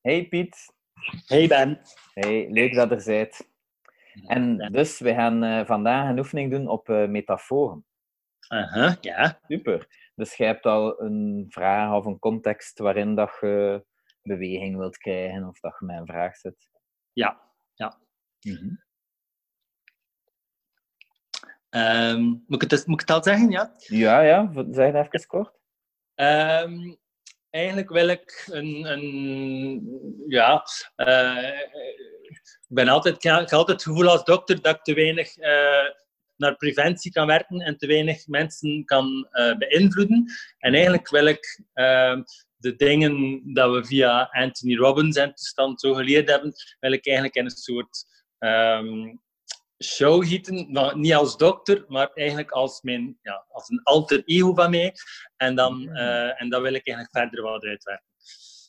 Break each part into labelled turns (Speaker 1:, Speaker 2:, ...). Speaker 1: Hey Piet.
Speaker 2: Hey Ben.
Speaker 1: Hey, leuk dat er zijt. En dus, we gaan eh, vandaag een oefening doen op eh, metaforen.
Speaker 2: Aha, Uh-huh, ja.
Speaker 1: Super. Dus jij hebt al een vraag of een context waarin dat je beweging wilt krijgen of dat je met een vraag zit.
Speaker 2: Ja, ja.
Speaker 1: Mhm.
Speaker 2: Ehm, moet, ik het, moet ik het al zeggen? Ja.
Speaker 1: Ja, ja, v- zeg dat even kort.
Speaker 2: Ehm, eigenlijk wil ik een. een ja. eh, ik, ben altijd, ik heb altijd het gevoel als dokter dat ik te weinig eh, naar preventie kan werken en te weinig mensen kan eh, beïnvloeden. En eigenlijk wil ik. ehm, de dingen dat we via Anthony Robbins en toestand zo geleerd hebben, wil ik eigenlijk in een soort ehm, show gieten. Maar niet als dokter, maar eigenlijk als, mijn, ja, als een alter ego van mij. En, dan,
Speaker 1: Mhm.
Speaker 2: eh, en dat wil ik eigenlijk verder wat uitwerken.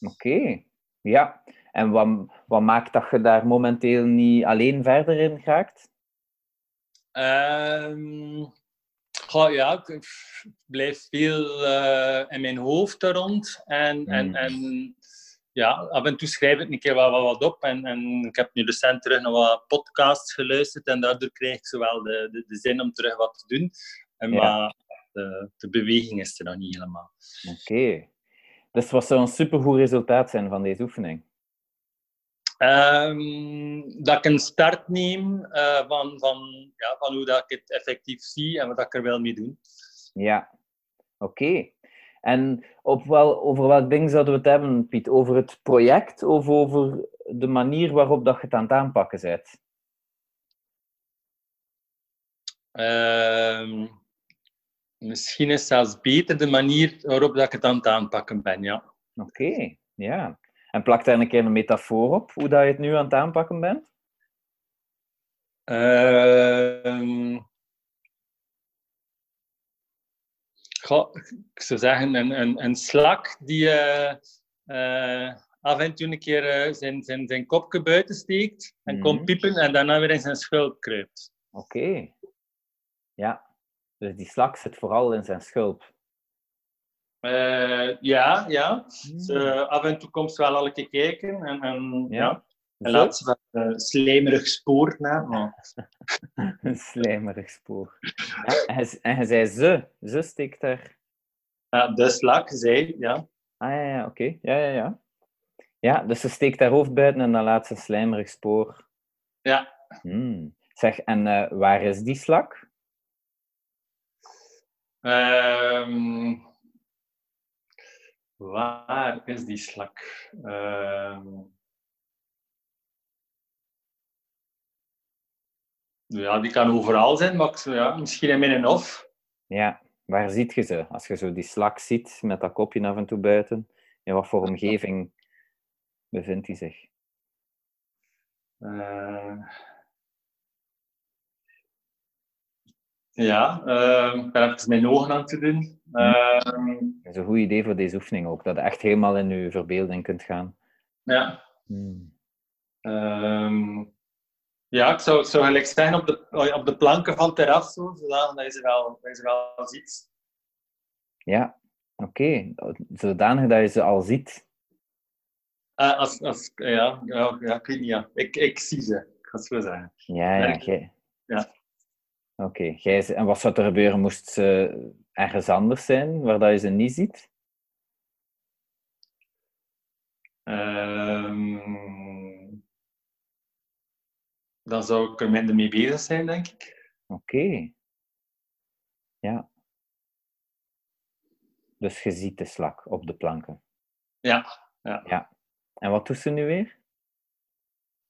Speaker 1: Oké, ja. En wat, wat maakt dat je daar momenteel niet alleen verder in raakt?
Speaker 2: Ehm, goh, ja, ik- ik blijf veel eh, in mijn hoofd er rond. En, en,
Speaker 1: Mm.
Speaker 2: en ja, af en toe schrijf ik een keer wat, wat, wat op. En, en ik heb nu recent terug naar wat podcasts geluisterd. En daardoor krijg ik zowel de, de, de zin om terug wat te doen. En,
Speaker 1: Ja.
Speaker 2: Maar de, de beweging is er nog niet helemaal.
Speaker 1: Oké. Dus wat zou een supergoed resultaat zijn van deze oefening?
Speaker 2: Ehm, dat ik een start neem eh, van, van, ja, van hoe dat ik het effectief zie en wat dat ik er wil mee doen.
Speaker 1: Ja, oké. En op wel, over welk ding zouden we het hebben, Piet? Over het project of over de manier waarop dat je het aan het aanpakken bent?
Speaker 2: Ehm, misschien is zelfs beter de manier waarop dat ik het aan het aanpakken ben, ja.
Speaker 1: Oké, ja. En plak daar een keer een metafoor op, hoe dat je het nu aan het aanpakken bent?
Speaker 2: Ehm, goh, ik zou zeggen, een, een, een slak die eh, eh, af en toe een keer eh, zijn, zijn, zijn kopje buiten steekt en
Speaker 1: Mhm.
Speaker 2: komt piepen en daarna weer in zijn schulp kruipt.
Speaker 1: Oké. Ja. Dus die slak zit vooral in zijn schulp.
Speaker 2: Eh, ja, ja. Dus, eh, af en toe komt ze wel al een keer kijken en, en
Speaker 1: Mhm. Ja.
Speaker 2: ja.
Speaker 1: Zo.
Speaker 2: Een laatste van eh slijmerig spoor na. Oh. Maar...
Speaker 1: Een slijmerig spoor. Ja, en, je- en je zei ze. Ze steekt er.
Speaker 2: Ja, de slak, zij, ja.
Speaker 1: Ah ja, ja oké. Ja, ja, ja. Ja, dus ze steekt haar hoofd buiten en dan laat ze een slijmerig spoor.
Speaker 2: Ja.
Speaker 1: Hmm. Zeg, en eh, waar is die slak?
Speaker 2: Ehm, waar is die slak? Ehm, ja, die kan overal zijn, maar ik zou- ja, misschien in mijn hof.
Speaker 1: Ja, waar ziet je ze? Als je zo die slak ziet met dat kopje af en toe buiten, in wat voor omgeving bevindt hij zich?
Speaker 2: Eh, ja, eh, ik ben even mijn ogen aan te doen. Ehm,
Speaker 1: Dat is een goed idee voor deze oefening ook, dat je echt helemaal in je verbeelding kunt gaan.
Speaker 2: ja.
Speaker 1: Hmm.
Speaker 2: Ehm, ja, ik zou, ik zou gelijk zijn op de, op de planken van het terras, zo, zodat je ze wel, dat je ze wel ziet.
Speaker 1: Ja, oké. Zodanig dat je ze al ziet.
Speaker 2: Eh, als, als, ja, ja, ja, ik weet niet, ja. Ik, ik zie ze, ik ga het zo zeggen.
Speaker 1: Ja, ja.
Speaker 2: Merk
Speaker 1: Jij...
Speaker 2: Ja.
Speaker 1: Oké, jij ze- en wat zou er gebeuren moest ze ergens anders zijn, waar dat je ze niet ziet?
Speaker 2: Ehm, dan zou ik er minder mee bezig zijn, denk ik.
Speaker 1: Oké. Ja. Dus je ziet de slak op de planken.
Speaker 2: Ja, ja.
Speaker 1: ja. En wat doet ze nu weer?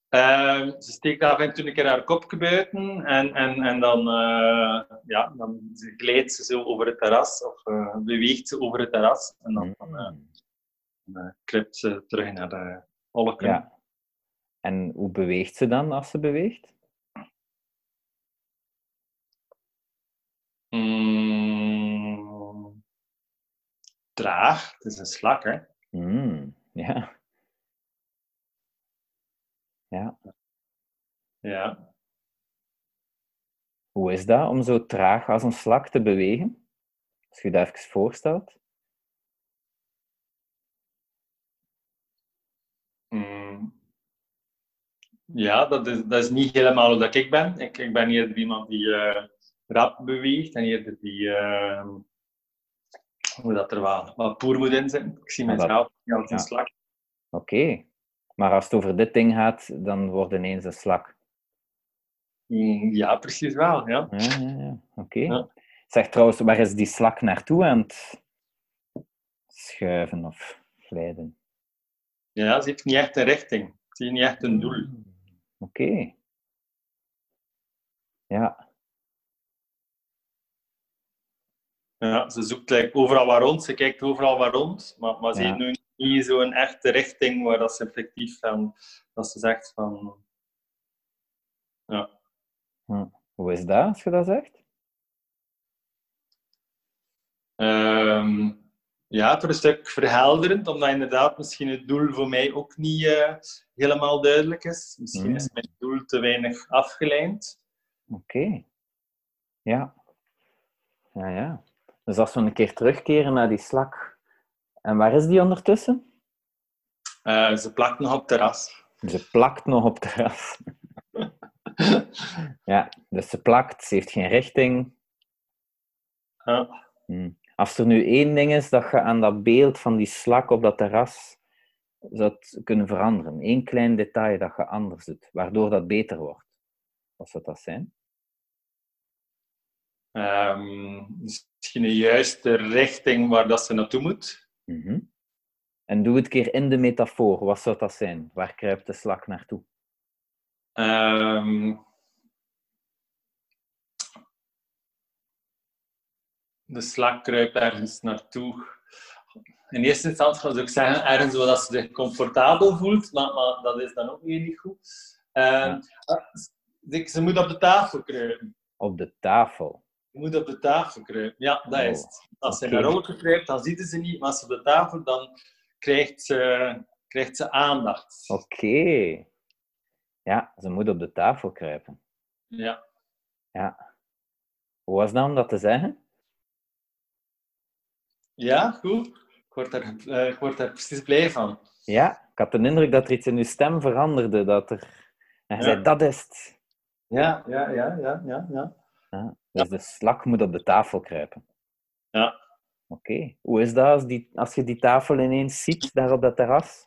Speaker 2: Ehm, ze steekt af en toe een keer haar kopje buiten en, en, en dan, eh, ja, dan glijdt ze zo over het terras of eh, beweegt ze over het terras en dan eh,
Speaker 1: Hmm.
Speaker 2: dan kript ze eh, terug naar de holken.
Speaker 1: Ja. En hoe beweegt ze dan als ze beweegt?
Speaker 2: Mm, traag, het is een slak, hè?
Speaker 1: Hmm, ja. Ja,
Speaker 2: Ja.
Speaker 1: hoe is dat om zo traag als een slak te bewegen? Als je je dat even voorstelt.
Speaker 2: Mm. Ja, dat is, dat is niet helemaal hoe dat ik ben. Ik, ik ben eerder iemand die eh, rap beweegt en eerder die... eh, hoe dat er wat, wat poer moet in zitten. Ik zie
Speaker 1: Ja, dat-
Speaker 2: mezelf niet als een
Speaker 1: ja.
Speaker 2: slak.
Speaker 1: Oké. Maar als het over dit ding gaat, dan wordt ineens een slak.
Speaker 2: Mm, Ja, precies wel. Ja.
Speaker 1: Ja, ja, ja. Oké.
Speaker 2: Ja.
Speaker 1: Zeg trouwens, waar is die slak naartoe aan het schuiven of glijden?
Speaker 2: ja, ze heeft niet echt een richting. Ze heeft niet echt een doel.
Speaker 1: Oké. Ja,
Speaker 2: Ja, ze zoekt like, overal waar rond, ze kijkt overal waar rond, maar, maar ze
Speaker 1: Ja.
Speaker 2: heeft nu niet zo'n echte richting waar dat ze effectief van, dat ze zegt van,
Speaker 1: hoe is dat als je dat zegt?
Speaker 2: ehm, ja, voor een stuk verhelderend, omdat inderdaad misschien het doel voor mij ook niet eh, helemaal duidelijk is. Misschien
Speaker 1: Mm.
Speaker 2: is mijn doel te weinig afgeleid.
Speaker 1: Oké. Ja. Ja, ja. Dus als we een keer terugkeren naar die slak. En waar is die ondertussen?
Speaker 2: Eh, ze plakt nog op het terras.
Speaker 1: Ze plakt nog op het terras. Ja, dus ze plakt, ze heeft geen richting.
Speaker 2: Ja.
Speaker 1: Hm. Als er nu één ding is dat je aan dat beeld van die slak op dat terras zou kunnen veranderen. Eén klein detail dat je anders doet, waardoor dat beter wordt. Wat zou dat zijn?
Speaker 2: Ehm, misschien een juiste richting waar dat ze naartoe moet.
Speaker 1: Mhm. En doe het een keer in de metafoor. Wat zou dat zijn? Waar kruipt de slak naartoe?
Speaker 2: Ehm, de slak kruipt ergens naartoe. In eerste instantie zou ik zeggen, ergens waar dat ze zich comfortabel voelt, maar, maar dat is dan ook weer niet goed. Ehm, ah, ze- ze moet op de tafel kruipen.
Speaker 1: Op de tafel.
Speaker 2: Ze moet op de tafel kruipen. Ja, dat is het. Als ze
Speaker 1: oké.
Speaker 2: naar roken kruipt, dan ziet ze niet, maar als ze op de tafel, dan krijgt ze, krijgt ze aandacht.
Speaker 1: Oké. Ja, ze moet op de tafel kruipen.
Speaker 2: Ja.
Speaker 1: Hoe was dat om dat te zeggen?
Speaker 2: ja, goed. Ik word, daar, eh, ik word daar precies blij van.
Speaker 1: Ja, ik had de indruk dat er iets in je stem veranderde. Dat er... En je
Speaker 2: Ja.
Speaker 1: zei, dat is het.
Speaker 2: Ja, ja, ja, ja, ja. ja.
Speaker 1: Dus de slak moet op de tafel kruipen.
Speaker 2: Ja.
Speaker 1: Oké. Hoe is dat als, die, als je die tafel ineens ziet, daar op dat terras?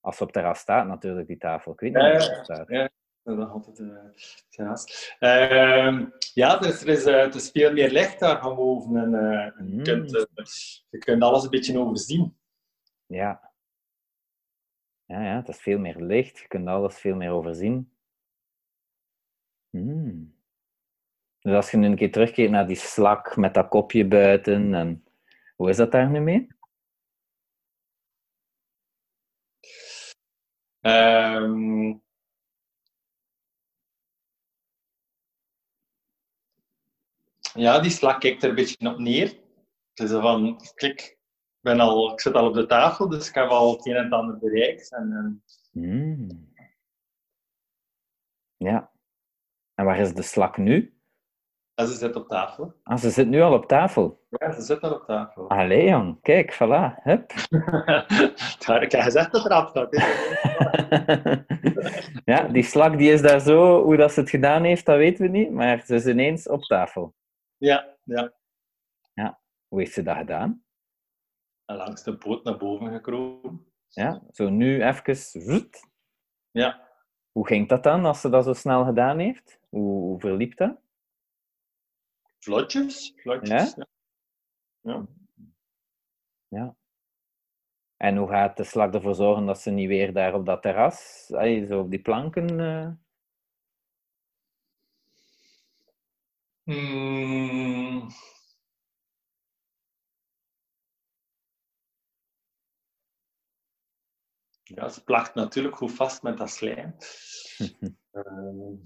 Speaker 1: Als ze op het terras staat, natuurlijk, die tafel. Ik weet niet
Speaker 2: Ja,
Speaker 1: waar
Speaker 2: ja,
Speaker 1: ze op staat.
Speaker 2: Dat is altijd uh, Ehm Ja, dus er is, eh, het is veel meer licht daar van boven. En, eh, en je,
Speaker 1: Mm.
Speaker 2: kunt, eh, je kunt alles een beetje overzien.
Speaker 1: Ja. Ja, ja, het is veel meer licht. Je kunt alles veel meer overzien. Hmm. Dus als je nu een keer terugkeert naar die slak met dat kopje buiten. En... Hoe is dat daar nu mee?
Speaker 2: Ehm, ja, die slak kijkt er een beetje op neer. Het is zo van, klik, ik, ben al, ik zit al op de tafel, dus ik heb al het een en het ander bereikt. En, en
Speaker 1: Hmm. Ja. En waar is de slak nu?
Speaker 2: en eh, ze zit op tafel.
Speaker 1: Ah, ze zit nu al op tafel.
Speaker 2: Ja, ze zit al op tafel.
Speaker 1: Allee, jong. Kijk, voilà. Hup.
Speaker 2: Daar heb ik al gezegd dat eraf staat.
Speaker 1: ja, die slak die is daar zo... Hoe dat ze het gedaan heeft, dat weten we niet. Maar ze is ineens op tafel.
Speaker 2: Ja, ja.
Speaker 1: Hoe heeft ze dat gedaan?
Speaker 2: En langs de boot naar boven gekropen.
Speaker 1: Ja, zo nu even... zoet.
Speaker 2: Ja.
Speaker 1: Hoe ging dat dan, als ze dat zo snel gedaan heeft? Hoe, hoe verliep dat?
Speaker 2: Vlotjes? Vlotjes. Ja? Ja.
Speaker 1: En hoe gaat de slak ervoor zorgen dat ze niet weer daar op dat terras... Allee, zo op die planken... eh,
Speaker 2: Mm. Ja, ze plakt natuurlijk goed vast met dat slijm. Ehm.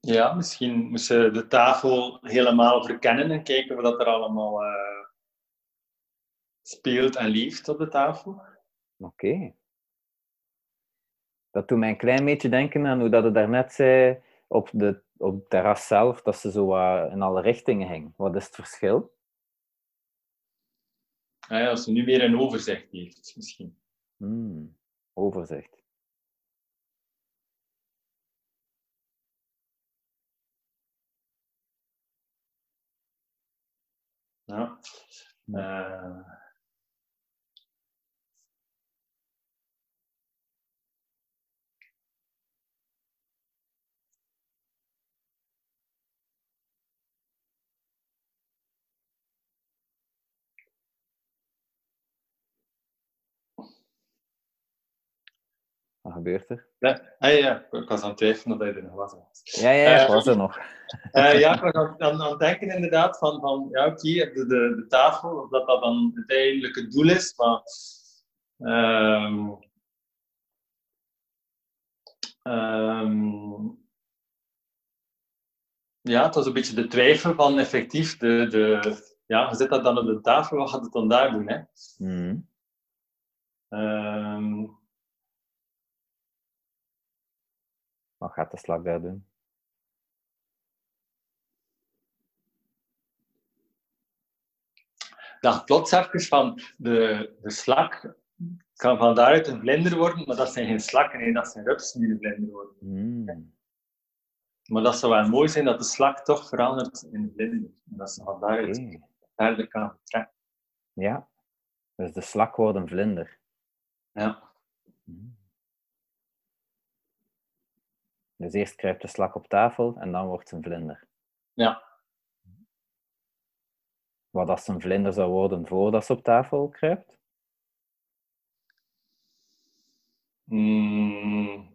Speaker 2: Ja, misschien moest ze de tafel helemaal verkennen en kijken wat er allemaal eh, speelt en leeft op de tafel.
Speaker 1: Oké. Dat doet mij een klein beetje denken aan hoe dat het daarnet zei op, de, op het terras zelf, dat ze zo wat in alle richtingen hing. Wat is het verschil?
Speaker 2: Ah ja, als ze nu meer een overzicht heeft, misschien.
Speaker 1: Hmm, overzicht.
Speaker 2: Ja. Eh,
Speaker 1: Wat gebeurt er?
Speaker 2: ah ja, ik ik was aan het twijfelen dat hij er nog was.
Speaker 1: Ja, ja, ja, ik
Speaker 2: Eh,
Speaker 1: was er nog.
Speaker 2: Eh, ja, ik was aan, aan, aan het denken inderdaad van, van ja, oké, je hebt de, de, de tafel, of dat dat dan uiteindelijk het doel is, maar... ehm, ehm, ja, het was een beetje de twijfel van effectief, de, de, ja, je zet dat dan op de tafel, wat gaat het dan daar doen, hè?
Speaker 1: Hmm.
Speaker 2: Ehm,
Speaker 1: Wat gaat de slak daar doen?
Speaker 2: dacht plots even van de, de slak kan van daaruit een vlinder worden, maar dat zijn geen slakken, nee, dat zijn rupsen die een vlinder worden.
Speaker 1: Hmm.
Speaker 2: Maar dat zou wel mooi zijn dat de slak toch verandert in een vlinder. En dat ze van daaruit
Speaker 1: Oké.
Speaker 2: verder kan trekken.
Speaker 1: Ja. Dus de slak wordt een vlinder.
Speaker 2: Ja.
Speaker 1: Hmm. Dus eerst kruipt de slak op tafel en dan wordt ze een vlinder.
Speaker 2: Ja.
Speaker 1: Wat als ze een vlinder zou worden voordat ze op tafel kruipt?
Speaker 2: Mm,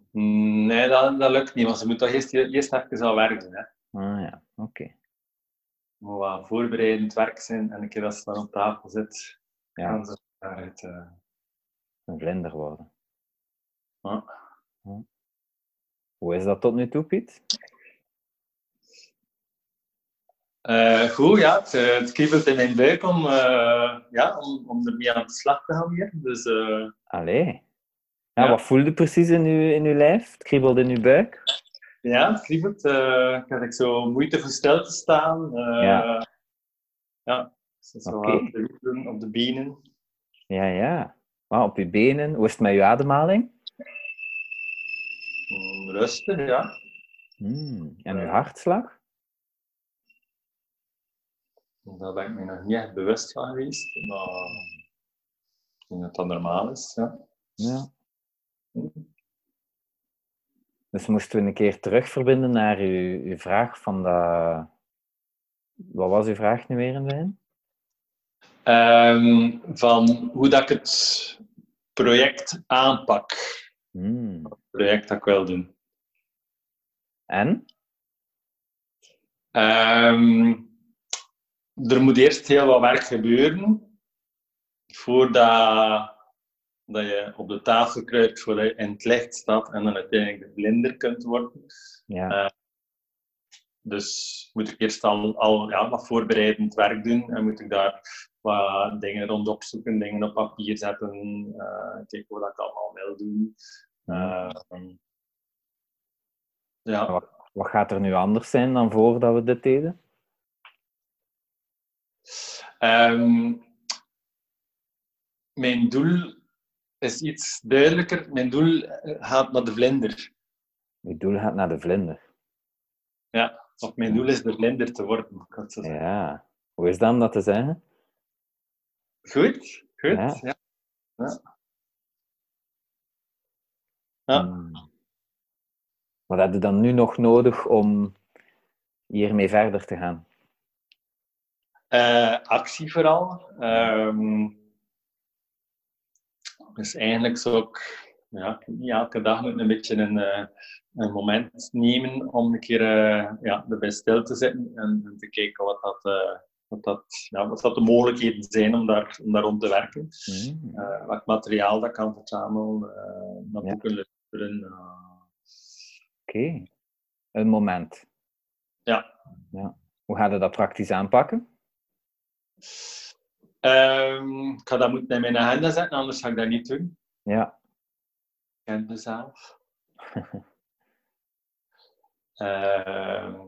Speaker 2: nee, dat, dat lukt niet, want ze moet toch eerst, eerst even aan werk doen. Hè.
Speaker 1: Ah ja, oké.
Speaker 2: Moet wat voorbereidend werk zijn en een keer dat ze dan op tafel zit,
Speaker 1: Ja.
Speaker 2: gaan ze daaruit. eh,
Speaker 1: Een vlinder worden.
Speaker 2: Ja.
Speaker 1: Ja. Hoe is dat tot nu toe, Piet?
Speaker 2: Eh, goed, ja. Het, eh, het kriebelt in mijn buik om, eh, ja, om, om ermee aan de slag te gaan hier. Dus eh,
Speaker 1: Allee. Ja,
Speaker 2: Ja.
Speaker 1: Wat voelde precies in uw, in uw lijf? Het kriebelde in uw buik?
Speaker 2: ja, het kriebelt. eh, ik had ik zo moeite voor stil te staan. eh,
Speaker 1: Ja.
Speaker 2: ja. Dus dat is wel
Speaker 1: Oké.
Speaker 2: wat te doen op de benen.
Speaker 1: Ja, ja. Maar op uw benen, hoe is het met uw ademhaling?
Speaker 2: Mm, Rustig, ja.
Speaker 1: Hmm. En uw
Speaker 2: Ja.
Speaker 1: hartslag?
Speaker 2: Daar ben ik me nog niet echt bewust van geweest. Maar ik denk dat dat normaal is. Ja.
Speaker 1: Ja. Dus moesten we een keer terugverbinden naar uw, uw vraag van dat... Wat was uw vraag nu weer in het begin?
Speaker 2: Ehm, van hoe dat ik het project aanpak.
Speaker 1: Hmm.
Speaker 2: Het project dat ik wil doen.
Speaker 1: En?
Speaker 2: Ehm, er moet eerst heel wat werk gebeuren voordat dat je op de tafel kruipt, voordat je in het licht staat en dan uiteindelijk de blinder kunt worden.
Speaker 1: Ja.
Speaker 2: Eh, Dus moet ik eerst al, al ja, wat voorbereidend werk doen en moet ik daar wat dingen rond opzoeken, dingen op papier zetten, eh, kijken wat ik allemaal wil doen. Ehm, ja.
Speaker 1: Wat gaat er nu anders zijn dan voordat we dit deden?
Speaker 2: Ehm, mijn doel is iets duidelijker. Mijn doel eh, gaat naar de vlinder.
Speaker 1: Je doel gaat naar de vlinder.
Speaker 2: Of mijn doel is de vlinder te worden. kan ik zo zeggen.
Speaker 1: Ja. Hoe is dat om dat te zeggen?
Speaker 2: Goed, goed.
Speaker 1: Ja.
Speaker 2: Ja. Ja.
Speaker 1: Hmm. Wat heb je dan nu nog nodig om hiermee verder te gaan?
Speaker 2: Eh, actie vooral. Ehm, dus eigenlijk zou ik ja, niet elke dag moet een beetje een, eh, een moment nemen om een keer eh, ja, erbij stil te zitten en, en te kijken wat dat, eh, wat, dat, ja, wat dat de mogelijkheden zijn om daar, om daar rond te werken.
Speaker 1: Hmm.
Speaker 2: Eh, wat materiaal dat kan verzamelen, eh naar
Speaker 1: Ja.
Speaker 2: boeken luisteren. eh.
Speaker 1: Oké. Een moment.
Speaker 2: Ja.
Speaker 1: ja. Hoe gaat je dat praktisch aanpakken?
Speaker 2: Ehm, ik ga dat moeten in mijn agenda zetten, anders ga ik dat niet doen.
Speaker 1: Ja.
Speaker 2: Ik ken mezelf. Uh,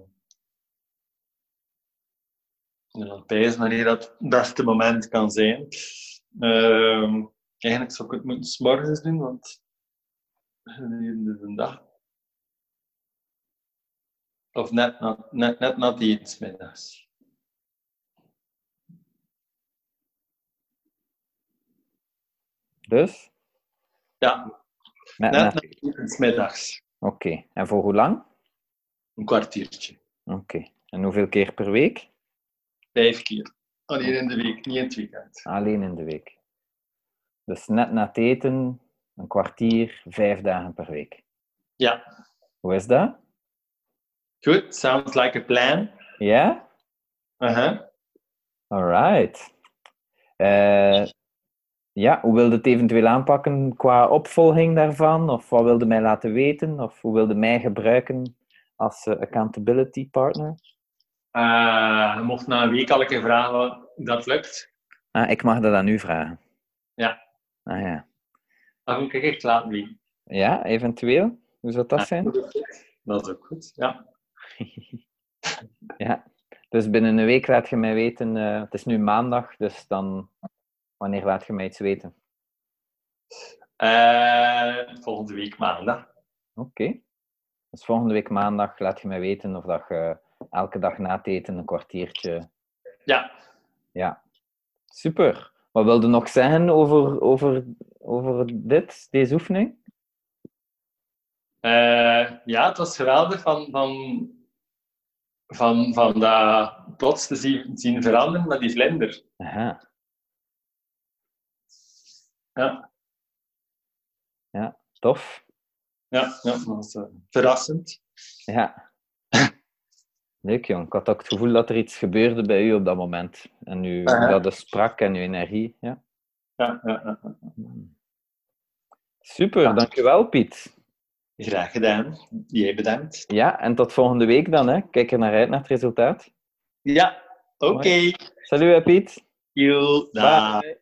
Speaker 2: een Europese manier dat het beste moment kan zijn. Uh, eigenlijk zou ik het moeten s'morgens doen, want gedurende de dag. Of net na, net, net na die iets middags.
Speaker 1: Dus?
Speaker 2: Ja,
Speaker 1: Met,
Speaker 2: net
Speaker 1: met-
Speaker 2: na die iets middags.
Speaker 1: Oké. En voor hoe lang?
Speaker 2: Een kwartiertje.
Speaker 1: Oké. En hoeveel keer per week?
Speaker 2: Vijf keer. Alleen in de week, niet in het weekend.
Speaker 1: Alleen in de week. Dus net na het eten, een kwartier, vijf dagen per week.
Speaker 2: Ja,
Speaker 1: Hoe is dat?
Speaker 2: goed. Sounds like a plan.
Speaker 1: Ja?
Speaker 2: Uh-huh.
Speaker 1: Alright. Eh, ja, hoe wilde het eventueel aanpakken qua opvolging daarvan? Of wat wilde mij laten weten? Of hoe wilde mij gebruiken als eh, accountability partner?
Speaker 2: Eh, je mocht na een week al een keer vragen wat dat lukt.
Speaker 1: Ah, ik mag dat aan u vragen.
Speaker 2: Ja.
Speaker 1: Ah ja.
Speaker 2: Dat moet ik echt laten liggen.
Speaker 1: Ja, eventueel. Hoe zou dat zijn?
Speaker 2: Dat is ook goed, ja.
Speaker 1: Ja. Dus binnen een week laat je mij weten. eh, het is nu maandag, dus dan. Wanneer laat je mij iets weten?
Speaker 2: Eh, volgende week maandag.
Speaker 1: Oké. Dus volgende week maandag laat je mij weten of dat je eh, elke dag na het eten een kwartiertje
Speaker 2: Ja,
Speaker 1: Super. Wat wilde nog zeggen over, over, over dit, deze oefening?
Speaker 2: Eh, ja het was geweldig van, van, van, van dat plots te zien, zien veranderen met die vlinder.
Speaker 1: Aha.
Speaker 2: Ja,
Speaker 1: Tof.
Speaker 2: ja, ja dat was eh, verrassend.
Speaker 1: Ja. Leuk jong. Ik had ook het gevoel dat er iets gebeurde bij u op dat moment. En u
Speaker 2: Aha.
Speaker 1: dat dus sprak en uw energie. Ja.
Speaker 2: Ja, ja, ja.
Speaker 1: Super,
Speaker 2: Ja.
Speaker 1: dankjewel Piet.
Speaker 2: Graag gedaan. Jij bedankt.
Speaker 1: Ja, en tot volgende week dan. Hè. Kijk er naar uit naar het resultaat.
Speaker 2: Ja, oké.
Speaker 1: Salut hè, Piet.
Speaker 2: Joe, Dag.
Speaker 1: Bye.